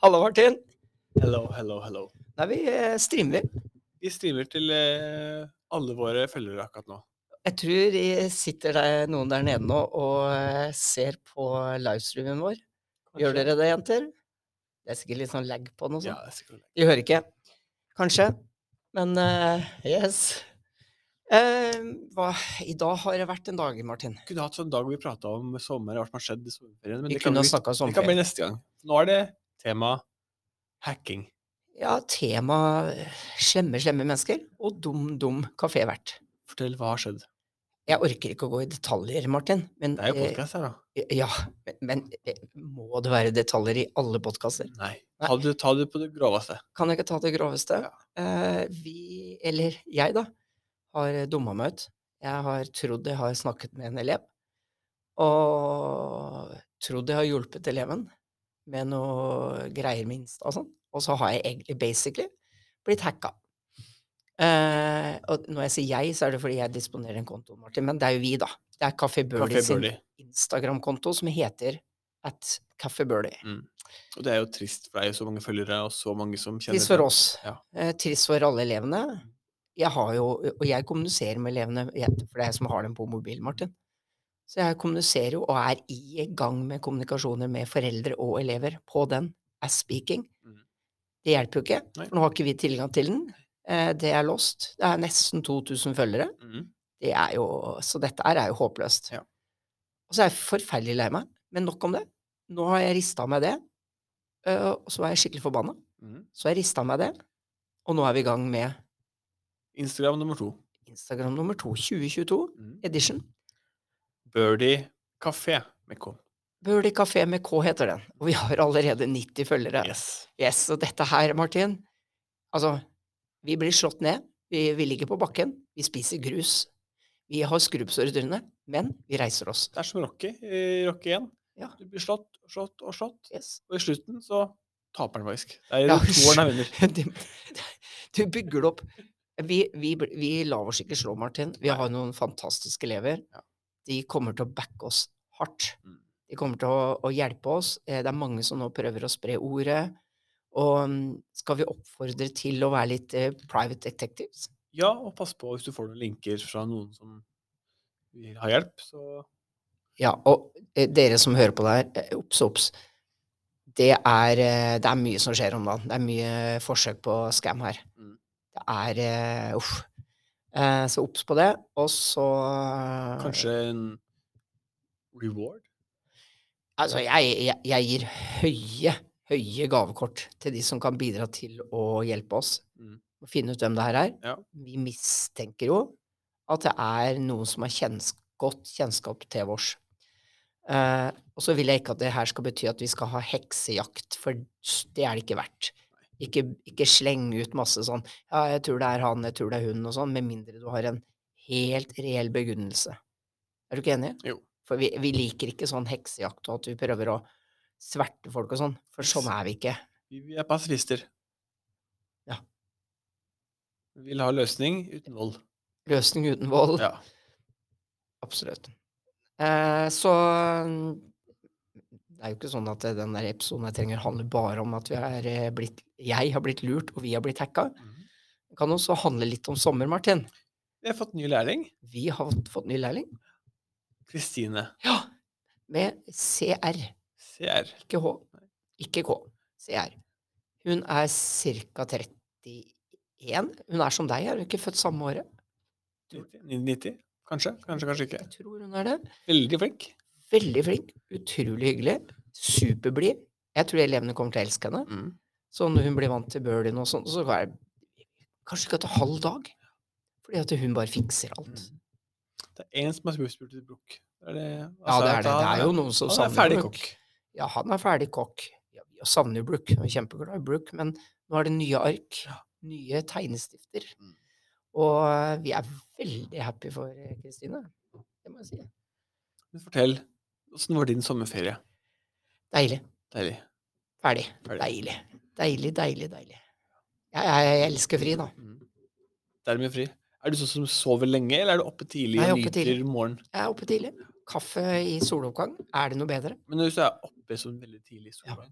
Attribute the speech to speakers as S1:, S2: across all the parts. S1: Halla, Martin.
S2: Hello, hello, hello.
S1: Nei, vi eh, streamer.
S2: Vi streamer til eh, alle våre følgere akkurat nå.
S1: Jeg tror det sitter der, noen der nede nå og eh, ser på livestreamen vår. Gjør dere det, jenter? Det er sikkert litt sånn lag på den og
S2: Ja,
S1: sånn.
S2: det er sikkert.
S1: De hører ikke. Kanskje. Men eh, yes. Eh, hva, I dag har det vært en dag, Martin.
S2: Vi kunne hatt sånn dag hvor vi prata om sommer og hva som har skjedd i sommerferien. Men
S1: Vi
S2: det kan,
S1: kunne ha sånn
S2: bli,
S1: snakka
S2: det kan bli
S1: sommerferie.
S2: neste gang. Nå er det tema hacking.
S1: Ja, tema eh, slemme, slemme mennesker og dum, dum kafévert.
S2: Fortell hva har skjedd.
S1: Jeg orker ikke å gå i detaljer, Martin. Men,
S2: Det er jo
S1: eh,
S2: podkast her, da.
S1: Ja, men, men eh, må det være detaljer i alle podkaster?
S2: Nei. Ta det, ta det på det groveste.
S1: Kan jeg ikke ta det groveste? Eh, vi, eller jeg, da, har dumma meg ut. Jeg har trodd jeg har snakket med en elev, og trodd jeg har hjulpet eleven med noe greier med Insta og sånn, og så har jeg egentlig basically blitt hacka. Eh, og når jeg sier jeg, så er det fordi jeg disponerer en konto, Martin, men det er jo vi, da. Det er Kaffe Burley
S2: Kafé
S1: sin
S2: Burley.
S1: Instagram-konto som heter at Kaffe Burley.
S2: Mm. Og det er jo trist, for det er jo så mange følgere og så mange som kjenner
S1: Trist for
S2: til-
S1: oss.
S2: Ja. Mm.
S1: Eh, trist for alle elevene. Jeg har jo, og jeg kommuniserer med elevene, jeg- for det er jeg som har dem på mobil, Martin. Så jeg kommuniserer jo og er i gang med kommunikasjoner med foreldre og elever på den as speaking.
S2: Mhm.
S1: Det hjelper jo ikke,
S2: Nei.
S1: for nå har ikke vi tilgang til den. Eh, Det er lost. Det er nesten 2000 følgere.
S2: Mhm.
S1: Det er jo, så dette her er jo håpløst.
S2: Ja.
S1: Og så er jeg forferdelig lei meg. Men nok om det. Nå har jeg rista meg det, eh, og så er jeg skikkelig forbanna.
S2: Mhm.
S1: Så jeg rista meg det, og nå er vi i gang med
S2: Instagram nummer to.
S1: Instagram nummer to, 2022
S2: Mm.
S1: edition.
S2: Birdie kafé med K.
S1: Burley kafé med K heter den, og vi har allerede 90 følgere.
S2: Yes.
S1: Yes, og dette her, Martin Altså, vi blir slått ned. Vi, vi ligger på bakken. Vi spiser grus. Vi har skrubbsår i trynet, men vi reiser oss.
S2: Det er som Rocky i Rocky 1.
S1: Ja.
S2: Du blir slått, slått og slått.
S1: Yes.
S2: Og i slutten så taper han faktisk. Det er
S1: Ja,
S2: ja, toeren han vinner.
S1: Det- Du bygger det opp. Vi, vi, bl- vi lar oss ikke slå, Martin. Vi har noen fantastiske elever.
S2: Ja.
S1: De kommer til å backe oss hardt.
S2: Mm.
S1: De kommer til å, å hjelpe oss. Eh, Det er mange som nå prøver å spre ordet. Og mm, skal vi oppfordre til å være litt eh, private detectives?
S2: Ja, og pass på hvis du får noen linker fra noen som vil ha hjelp, så
S1: Ja, og eh, dere som hører på der, eh, obs, obs. Det er, eh, det er mye som skjer om dagen. Det er mye forsøk på scam her.
S2: Mm.
S1: Det er eh, Uff. Eh, Så obs på det. Og så eh,
S2: kanskje en reward?
S1: Altså, jeg, jeg, jeg gir høye, høye gavekort til de som kan bidra til å hjelpe oss.
S2: Mm.
S1: Å finne ut hvem det her er.
S2: Ja.
S1: Vi mistenker jo at det er noen som har kjenns godt kjennskap til oss. Eh, og så vil jeg ikke at det her skal bety at vi skal ha heksejakt, for s- det er det ikke verdt. Ikke, ikke sleng ut masse sånn 'ja, jeg tror det er han, jeg tror det er hun', og sånn, med mindre du har en helt reell begrunnelse. Er du ikke enig?
S2: Jo.
S1: For vi, vi liker ikke sånn heksejakt og at vi prøver å sverte folk og sånn, for sånn er vi ikke.
S2: Vi, vi er pasifister.
S1: Ja.
S2: Vi vil ha løsning uten vold.
S1: Løsning uten vold.
S2: Ja.
S1: Absolutt. Eh, så mm, det er jo ikke sånn at eh, den der episoden jeg trenger handler bare om at vi er eh, blitt, jeg har blitt lurt og vi har blitt hacka. Det kan også handle litt om sommer, Martin.
S2: Mhm. Vi har fått ny lærling.
S1: Vi har fått- fått ny lærling
S2: Kristine
S1: med CR,
S2: CR.
S1: ikke H. Ikke K. CR. Hun er ca. 31. Hun er som deg, er hun ikke født samme året?
S2: 90, 90, kanskje? Kanskje, kanskje ikke.
S1: Jeg tror hun er det.
S2: Veldig flink.
S1: Veldig flink. Utrolig hyggelig. Superblid. Jeg tror elevene kommer til å elske henne. Så når hun blir vant til Berlin og sånn, så er det kanskje ikke etter halv dag. Fordi at hun bare fikser alt.
S2: Mm. Det er én som har spurt til Brukk. Det er det.
S1: Ja,
S2: altså,
S1: det er det. Det
S2: han
S1: er jo noen som
S2: Han er
S1: savner
S2: ferdig
S1: Brooke.
S2: kokk.
S1: Ja, han er ferdig kokk. Ja, vi savner jo Brooke. Jeg er kjempeglad i Brooke, men nå er det nye ark. Nye tegnestifter.
S2: Mm.
S1: Og eh, vi er veldig happy for eh, Kristine. Det må jeg si.
S2: Men fortell, åssen var din sommerferie?
S1: Deilig.
S2: Deilig.
S1: Ferdig.
S2: Ferdig.
S1: Deilig. Deilig, deilig, deilig. Jeg, jeg, jeg elsker fri, da.
S2: Mm. Dermed fri. Er du sånn som sover lenge, eller er du oppe tidlig
S1: Nei,
S2: og
S1: jeg er oppe
S2: nyter
S1: tidlig.
S2: morgenen?
S1: Jeg er oppe tidlig. Kaffe i soloppgang. Er det noe bedre?
S2: Men hvis du er oppe sånn veldig tidlig i
S1: Ja.
S2: solgangen,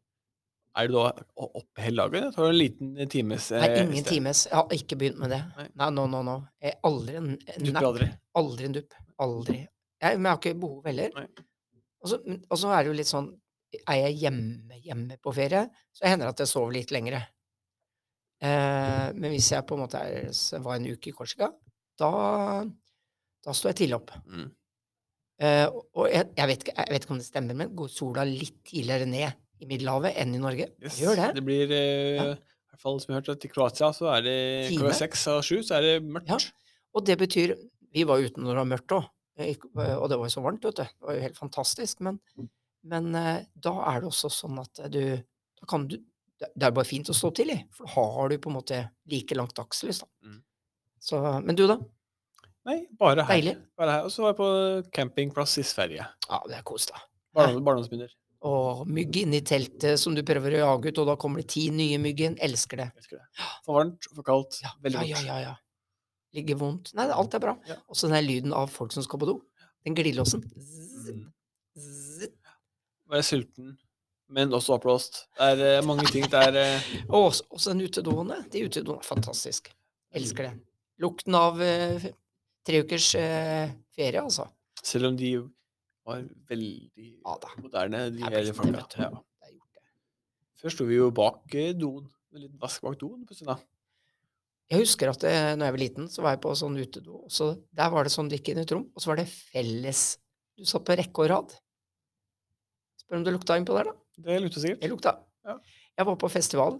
S2: Er det da å oppe hele dagen? Det tar en liten times
S1: Nei,
S2: eh,
S1: ingen
S2: sted.
S1: times. Jeg har ikke begynt med det.
S2: Nei.
S1: Nei, nå, nå, nå. Jeg er Aldri en en
S2: Dupper
S1: napp.
S2: aldri.
S1: Aldri en dupp. Aldri. Jeg, men jeg har ikke behov heller.
S2: Nei.
S1: Og så, men- og så er det jo litt sånn Er jeg hjemme, hjemme på ferie, så hender det at jeg sover litt lengre. Eh, men hvis jeg på en måte er, s- var en uke i Korsika, da, da står jeg tidlig opp.
S2: Mm.
S1: Eh, og- og jeg, jeg, vet ikke, jeg vet ikke om det stemmer, men går sola litt tidligere ned i Middelhavet enn i Norge?
S2: Yes,
S1: Gjør det?
S2: Det blir eh,
S1: Ja.
S2: i hvert fall som jeg har hørt, at i Kroatia så er det
S1: Time.
S2: klokka seks og sju, så er det mørkt.
S1: Ja. Og det betyr Vi var ute når det var mørkt òg,
S2: Mm.
S1: og det var jo så varmt, vet du. Det var jo helt fantastisk. Men, men eh, da er det også sånn at du Da kan du Det det er bare fint å stå til i, for da har du på en måte like langt dagslys, da.
S2: Mm.
S1: Så, men du, da?
S2: Nei, bare her.
S1: Deilig.
S2: Bare her. Og så var jeg på campingplass i Sverige.
S1: Ja, det er kos, da.
S2: Barne- Barndomsminner.
S1: Og mygg inni teltet som du prøver å jage ut, og da kommer det ti nye mygg inn. Elsker det.
S2: Jeg Elsker det. For varmt, for kaldt.
S1: Ja,
S2: veldig
S1: ja,
S2: godt.
S1: ja, ja, ja. Ligger vondt. Nei, alt er bra.
S2: Ja.
S1: Og så den der lyden av folk som skal på do. Den glidelåsen. Zzz,
S2: Mm.
S1: zzz.
S2: Være sulten, men også oppblåst. Det er eh, mange ting. Det er eh,
S1: Og også, også den utedoene. De utedoene er fantastisk. Elsker det. Lukten av eh, f- tre ukers eh, ferie, altså.
S2: Selv om de var veldig
S1: Ja da.
S2: moderne, de
S1: Jeg
S2: hele
S1: vet det,
S2: folka.
S1: vet du.
S2: Ja.
S1: Det er gjort, det.
S2: Før sto vi jo bak eh, doen. Med litt vask bak doen på søndag.
S1: Jeg husker at eh, når jeg var liten, så var jeg på sånn utedo. og Så der var det sånn du gikk inn i et rom, og så var det felles. Du satt på rekke og rad. Spør om det lukta innpå der, da.
S2: Det lukter sikkert.
S1: Det lukta.
S2: Ja.
S1: Jeg var på festival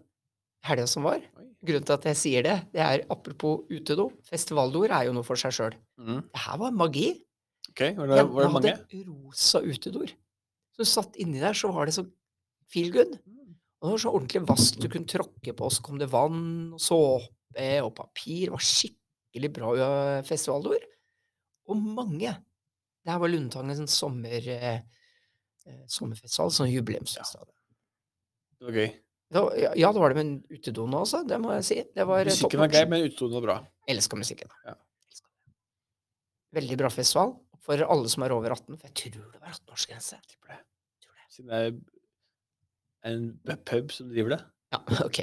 S1: helga som var.
S2: Oi.
S1: Grunnen til at jeg sier det, det er apropos utedo. Festivaldoer er jo noe for seg sjøl.
S2: Mm.
S1: Det her var magi.
S2: Ok, var det, var det
S1: Jentene
S2: mange?
S1: hadde rosa utedoer. Så du satt inni der, så var det så feel good.
S2: Mm.
S1: Og det var så ordentlig vask du kunne tråkke på, og så kom det vann og såpe og papir. Det var skikkelig bra ø, festivaldoer. Og mange. Det her var Lundtangens sommer, eh, eh, sommerfestival, sånn jubileumsfestival.
S2: Det var gøy.
S1: Det var- Ja. ja, det var det med utedoen også, det må jeg si. Det var eh,
S2: Musikken var
S1: toppnotch.
S2: grei, men utedoen var bra.
S1: Elsker musikken.
S2: Ja.
S1: Elsker det. Veldig bra festival for alle som er over 18. For jeg tror det var 18-årsgrense.
S2: Tipper det. Siden det er en b- pub som driver det.
S1: Ja, ok.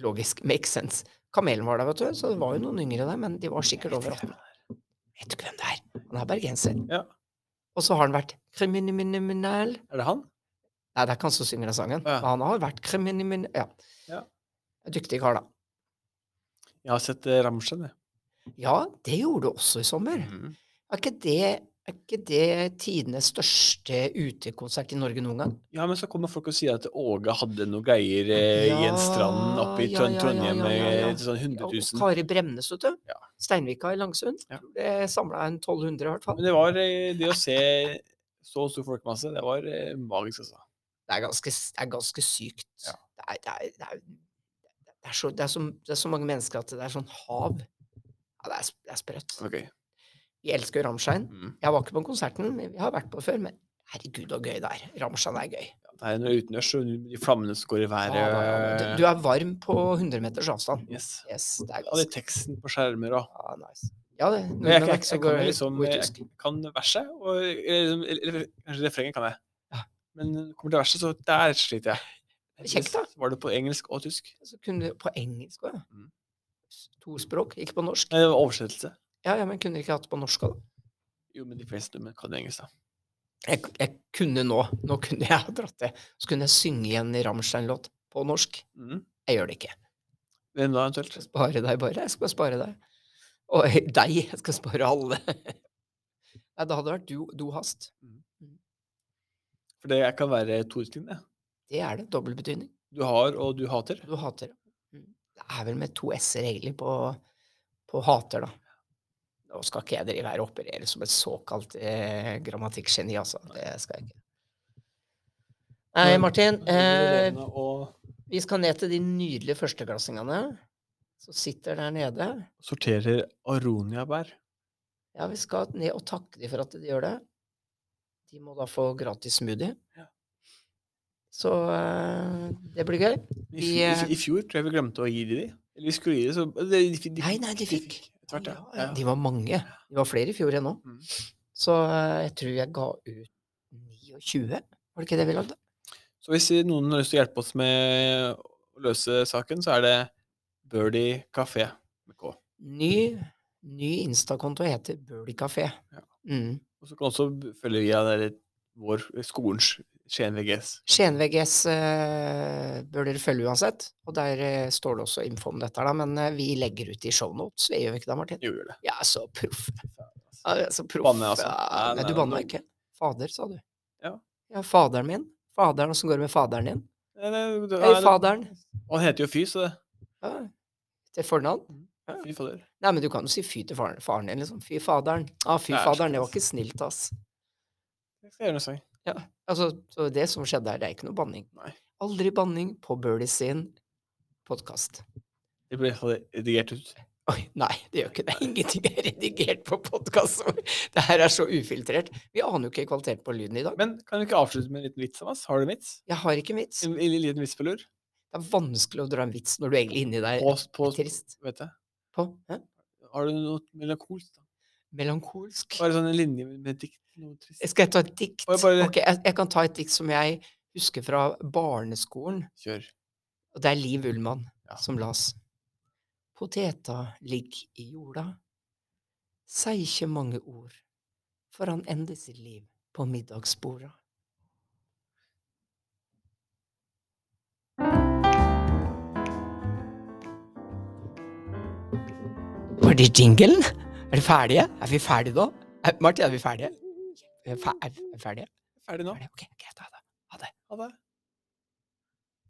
S1: Logisk. Makes sense. Kamelen var der, vet du, så det var jo noen yngre der, men de var sikkert over 18. Vet du ikke hvem det er? Han er bergenser.
S2: Ja.
S1: Og så har han vært kriminell
S2: Er det han?
S1: Nei, det er ikke han som synger den sangen,
S2: Å ja.
S1: men han har vært kriminell Ja.
S2: Ja.
S1: Dyktig kar, da.
S2: Jeg har sett eh, Rammstein, jeg.
S1: Ja, det gjorde du også i sommer.
S2: Mhm.
S1: Er ikke det, er ikke det tidenes største utekonsert i Norge noen gang?
S2: Ja, men så kommer folk og sier at Åge hadde noen greier eh, i en strand oppe i
S1: Ja,
S2: Trond-
S1: ja, ja,
S2: Trondheim
S1: ja,
S2: med
S1: ja, ja.
S2: sånn 100
S1: Ja, og
S2: 000.
S1: Kari Bremnes, vet du.
S2: Ja.
S1: Steinvika i Langsund.
S2: Ja.
S1: Det samla en 1200, i hvert fall.
S2: Men det var eh, det å se så stor folkemasse, det var eh, magisk, altså.
S1: Det er ganske, s- det er ganske sykt.
S2: Ja.
S1: Det, er, det, er, det, er, det, er så, det, er så, det er så mange mennesker at det er sånn hav. Ja, det er, sp- det er sprøtt.
S2: Det var gøy.
S1: Vi elsker jo Rammstein.
S2: Mhm.
S1: Jeg var ikke på konserten, men vi har vært på det før, men herregud, så gøy det er. Rammstein er gøy.
S2: Ja, Det er noe utendørs, og de flammene som går
S1: Ja,
S2: i været. eh,
S1: da, ja, da. du, du er varm på 100 meters avstand.
S2: Yes.
S1: Yes, det er
S2: Alle
S1: ganske
S2: teksten på skjermer og
S1: ja, nice. Ja, det,
S2: Men jeg,
S1: nordmenn
S2: jeg,
S1: er
S2: jeg,
S1: ikke så
S2: jeg, kan
S1: gode-
S2: jo liksom,
S1: gode i
S2: jeg
S1: tysk.
S2: kan verset, og eller, eller, kanskje refrenget kan jeg.
S1: Ja.
S2: Men når det kommer til verset, så der sliter jeg.
S1: Kjekt, da.
S2: Heldigvis Var det på engelsk og tysk?
S1: så kunne du på engelsk òg, ja.
S2: Mm.
S1: S- To språk, ikke på norsk.
S2: Nei, det var oversettelse.
S1: Ja, ja, men kunne ikke hatt det på norsk òg, da.
S2: Jo, men de fleste nordmenn kan engelsk, da.
S1: Jeg, k- jeg kunne nå, nå kunne jeg ha dratt det. Så kunne jeg synge igjen i Rammstein-låt på norsk.
S2: Mhm.
S1: Jeg gjør det ikke.
S2: Hvem da, eventuelt?
S1: Jeg skal spare deg bare. Jeg skal bare spare deg. Og eh, deg. Jeg skal spare alle. Nei, det hadde vært du, dohast.
S2: For det jeg kan være toutling, det.
S1: Det er det. Dobbel betydning.
S2: Du har og du hater.
S1: Du hater. Mm. Det er vel med to s-er egentlig på, på hater, da. Nå skal ikke jeg drive her og operere som et såkalt eh, grammatikkgeni, altså. Det skal jeg ikke. Nei,
S2: Men-
S1: Martin. Eh,
S2: Elevene og
S1: vi skal ned til de nydelige førsteklassingene som sitter der nede.
S2: sorterer aroniabær.
S1: Ja, vi skal ned og takke dem for at de gjør det. De må da få gratis smoothie.
S2: Ja.
S1: Så eh, det blir gøy.
S2: I,
S1: Vi,
S2: fj- i,
S1: eh,
S2: fj- I fjor tror jeg vi glemte å gi de de. Eller vi skulle gi de, så de, de, fikk-
S1: Nei, nei, de fikk.
S2: Etter hvert,
S1: Ja,
S2: ja.
S1: ja, De var mange. De var flere i fjor enn nå.
S2: Mm.
S1: Så eh, jeg tror jeg ga ut 29. Var det ikke det vi lagde?
S2: ja. Så hvis vi- noen har lyst til å hjelpe oss med å løse saken, så er det Birdie Café med K. Og
S1: Ny, ny Insta-konto heter Burley Café.
S2: Ja.
S1: Mm.
S2: så kan du også b- følge via der, vår skolens Skien VGS.
S1: Skien VGS eh, bør dere følge uansett, og der eh, står det også info om dette, her da, men eh, vi legger ut i shownotes, vi gjør vi ikke det, Martin?
S2: Jo, gjør det.
S1: Jeg er så proff.
S2: Ja,
S1: Jeg er så proff.
S2: Banner jeg, altså?
S1: Ja,
S2: Nei,
S1: Nei,
S2: nei,
S1: du
S2: nei,
S1: banner
S2: nå-
S1: ikke. Fader, sa du.
S2: Ja.
S1: Ja, faderen min. Faderen, åssen går det med faderen din?
S2: det- det-
S1: Hei,
S2: det-
S1: faderen.
S2: Han heter jo Fy, så det
S1: Ja. Til fornavn? Ja.
S2: Fy fader.
S1: Nei, men du kan jo si fy til faren, faren din, liksom. Fy faderen. Ah, fy
S2: Det er altså. så
S1: faderen, det var
S2: fint.
S1: ikke snilt, ass.
S2: Det skal jeg gjøre neste gang.
S1: Altså, så det som skjedde her, det er ikke noe banning.
S2: Nei.
S1: Aldri banning på Burleys sin podkast.
S2: Det blir i hvert fall redigert ut.
S1: Oi, nei, det gjør ikke det. Ingenting er redigert på podkast. Det her er så ufiltrert. Vi aner jo ikke kvaliteten på lyden i dag.
S2: Men kan du ikke avslutte med en liten vits av oss? Har du en vits?
S1: Jeg har ikke en vits.
S2: En, en liten vits på lur?
S1: Det er vanskelig å dra en vits når du egentlig inni deg
S2: På, på,
S1: er trist.
S2: vet jeg.
S1: På. Hæ?
S2: Har du noe melankolsk? da?
S1: Melankolsk.
S2: Bare sånn en linje med- med dikt? Noe trist?
S1: Skal jeg ta et dikt?
S2: Oi, bare-
S1: Ok, jeg, jeg kan ta et dikt som jeg husker fra barneskolen.
S2: Kjør.
S1: Og det er Liv Ullmann
S2: Ja.
S1: som las. Poteta ligg i jorda. Sei ikkje mange ord, for han ender sitt liv på middagsborda. Var det jinglen? Er de ferdige? Er vi ferdige nå? Eh, Er, Martin, er vi ferdige? Er vi fe- er vi ferdige?
S2: Ferdig nå?
S1: Ferdige? Ok, greit. Ha det.
S2: Ha det.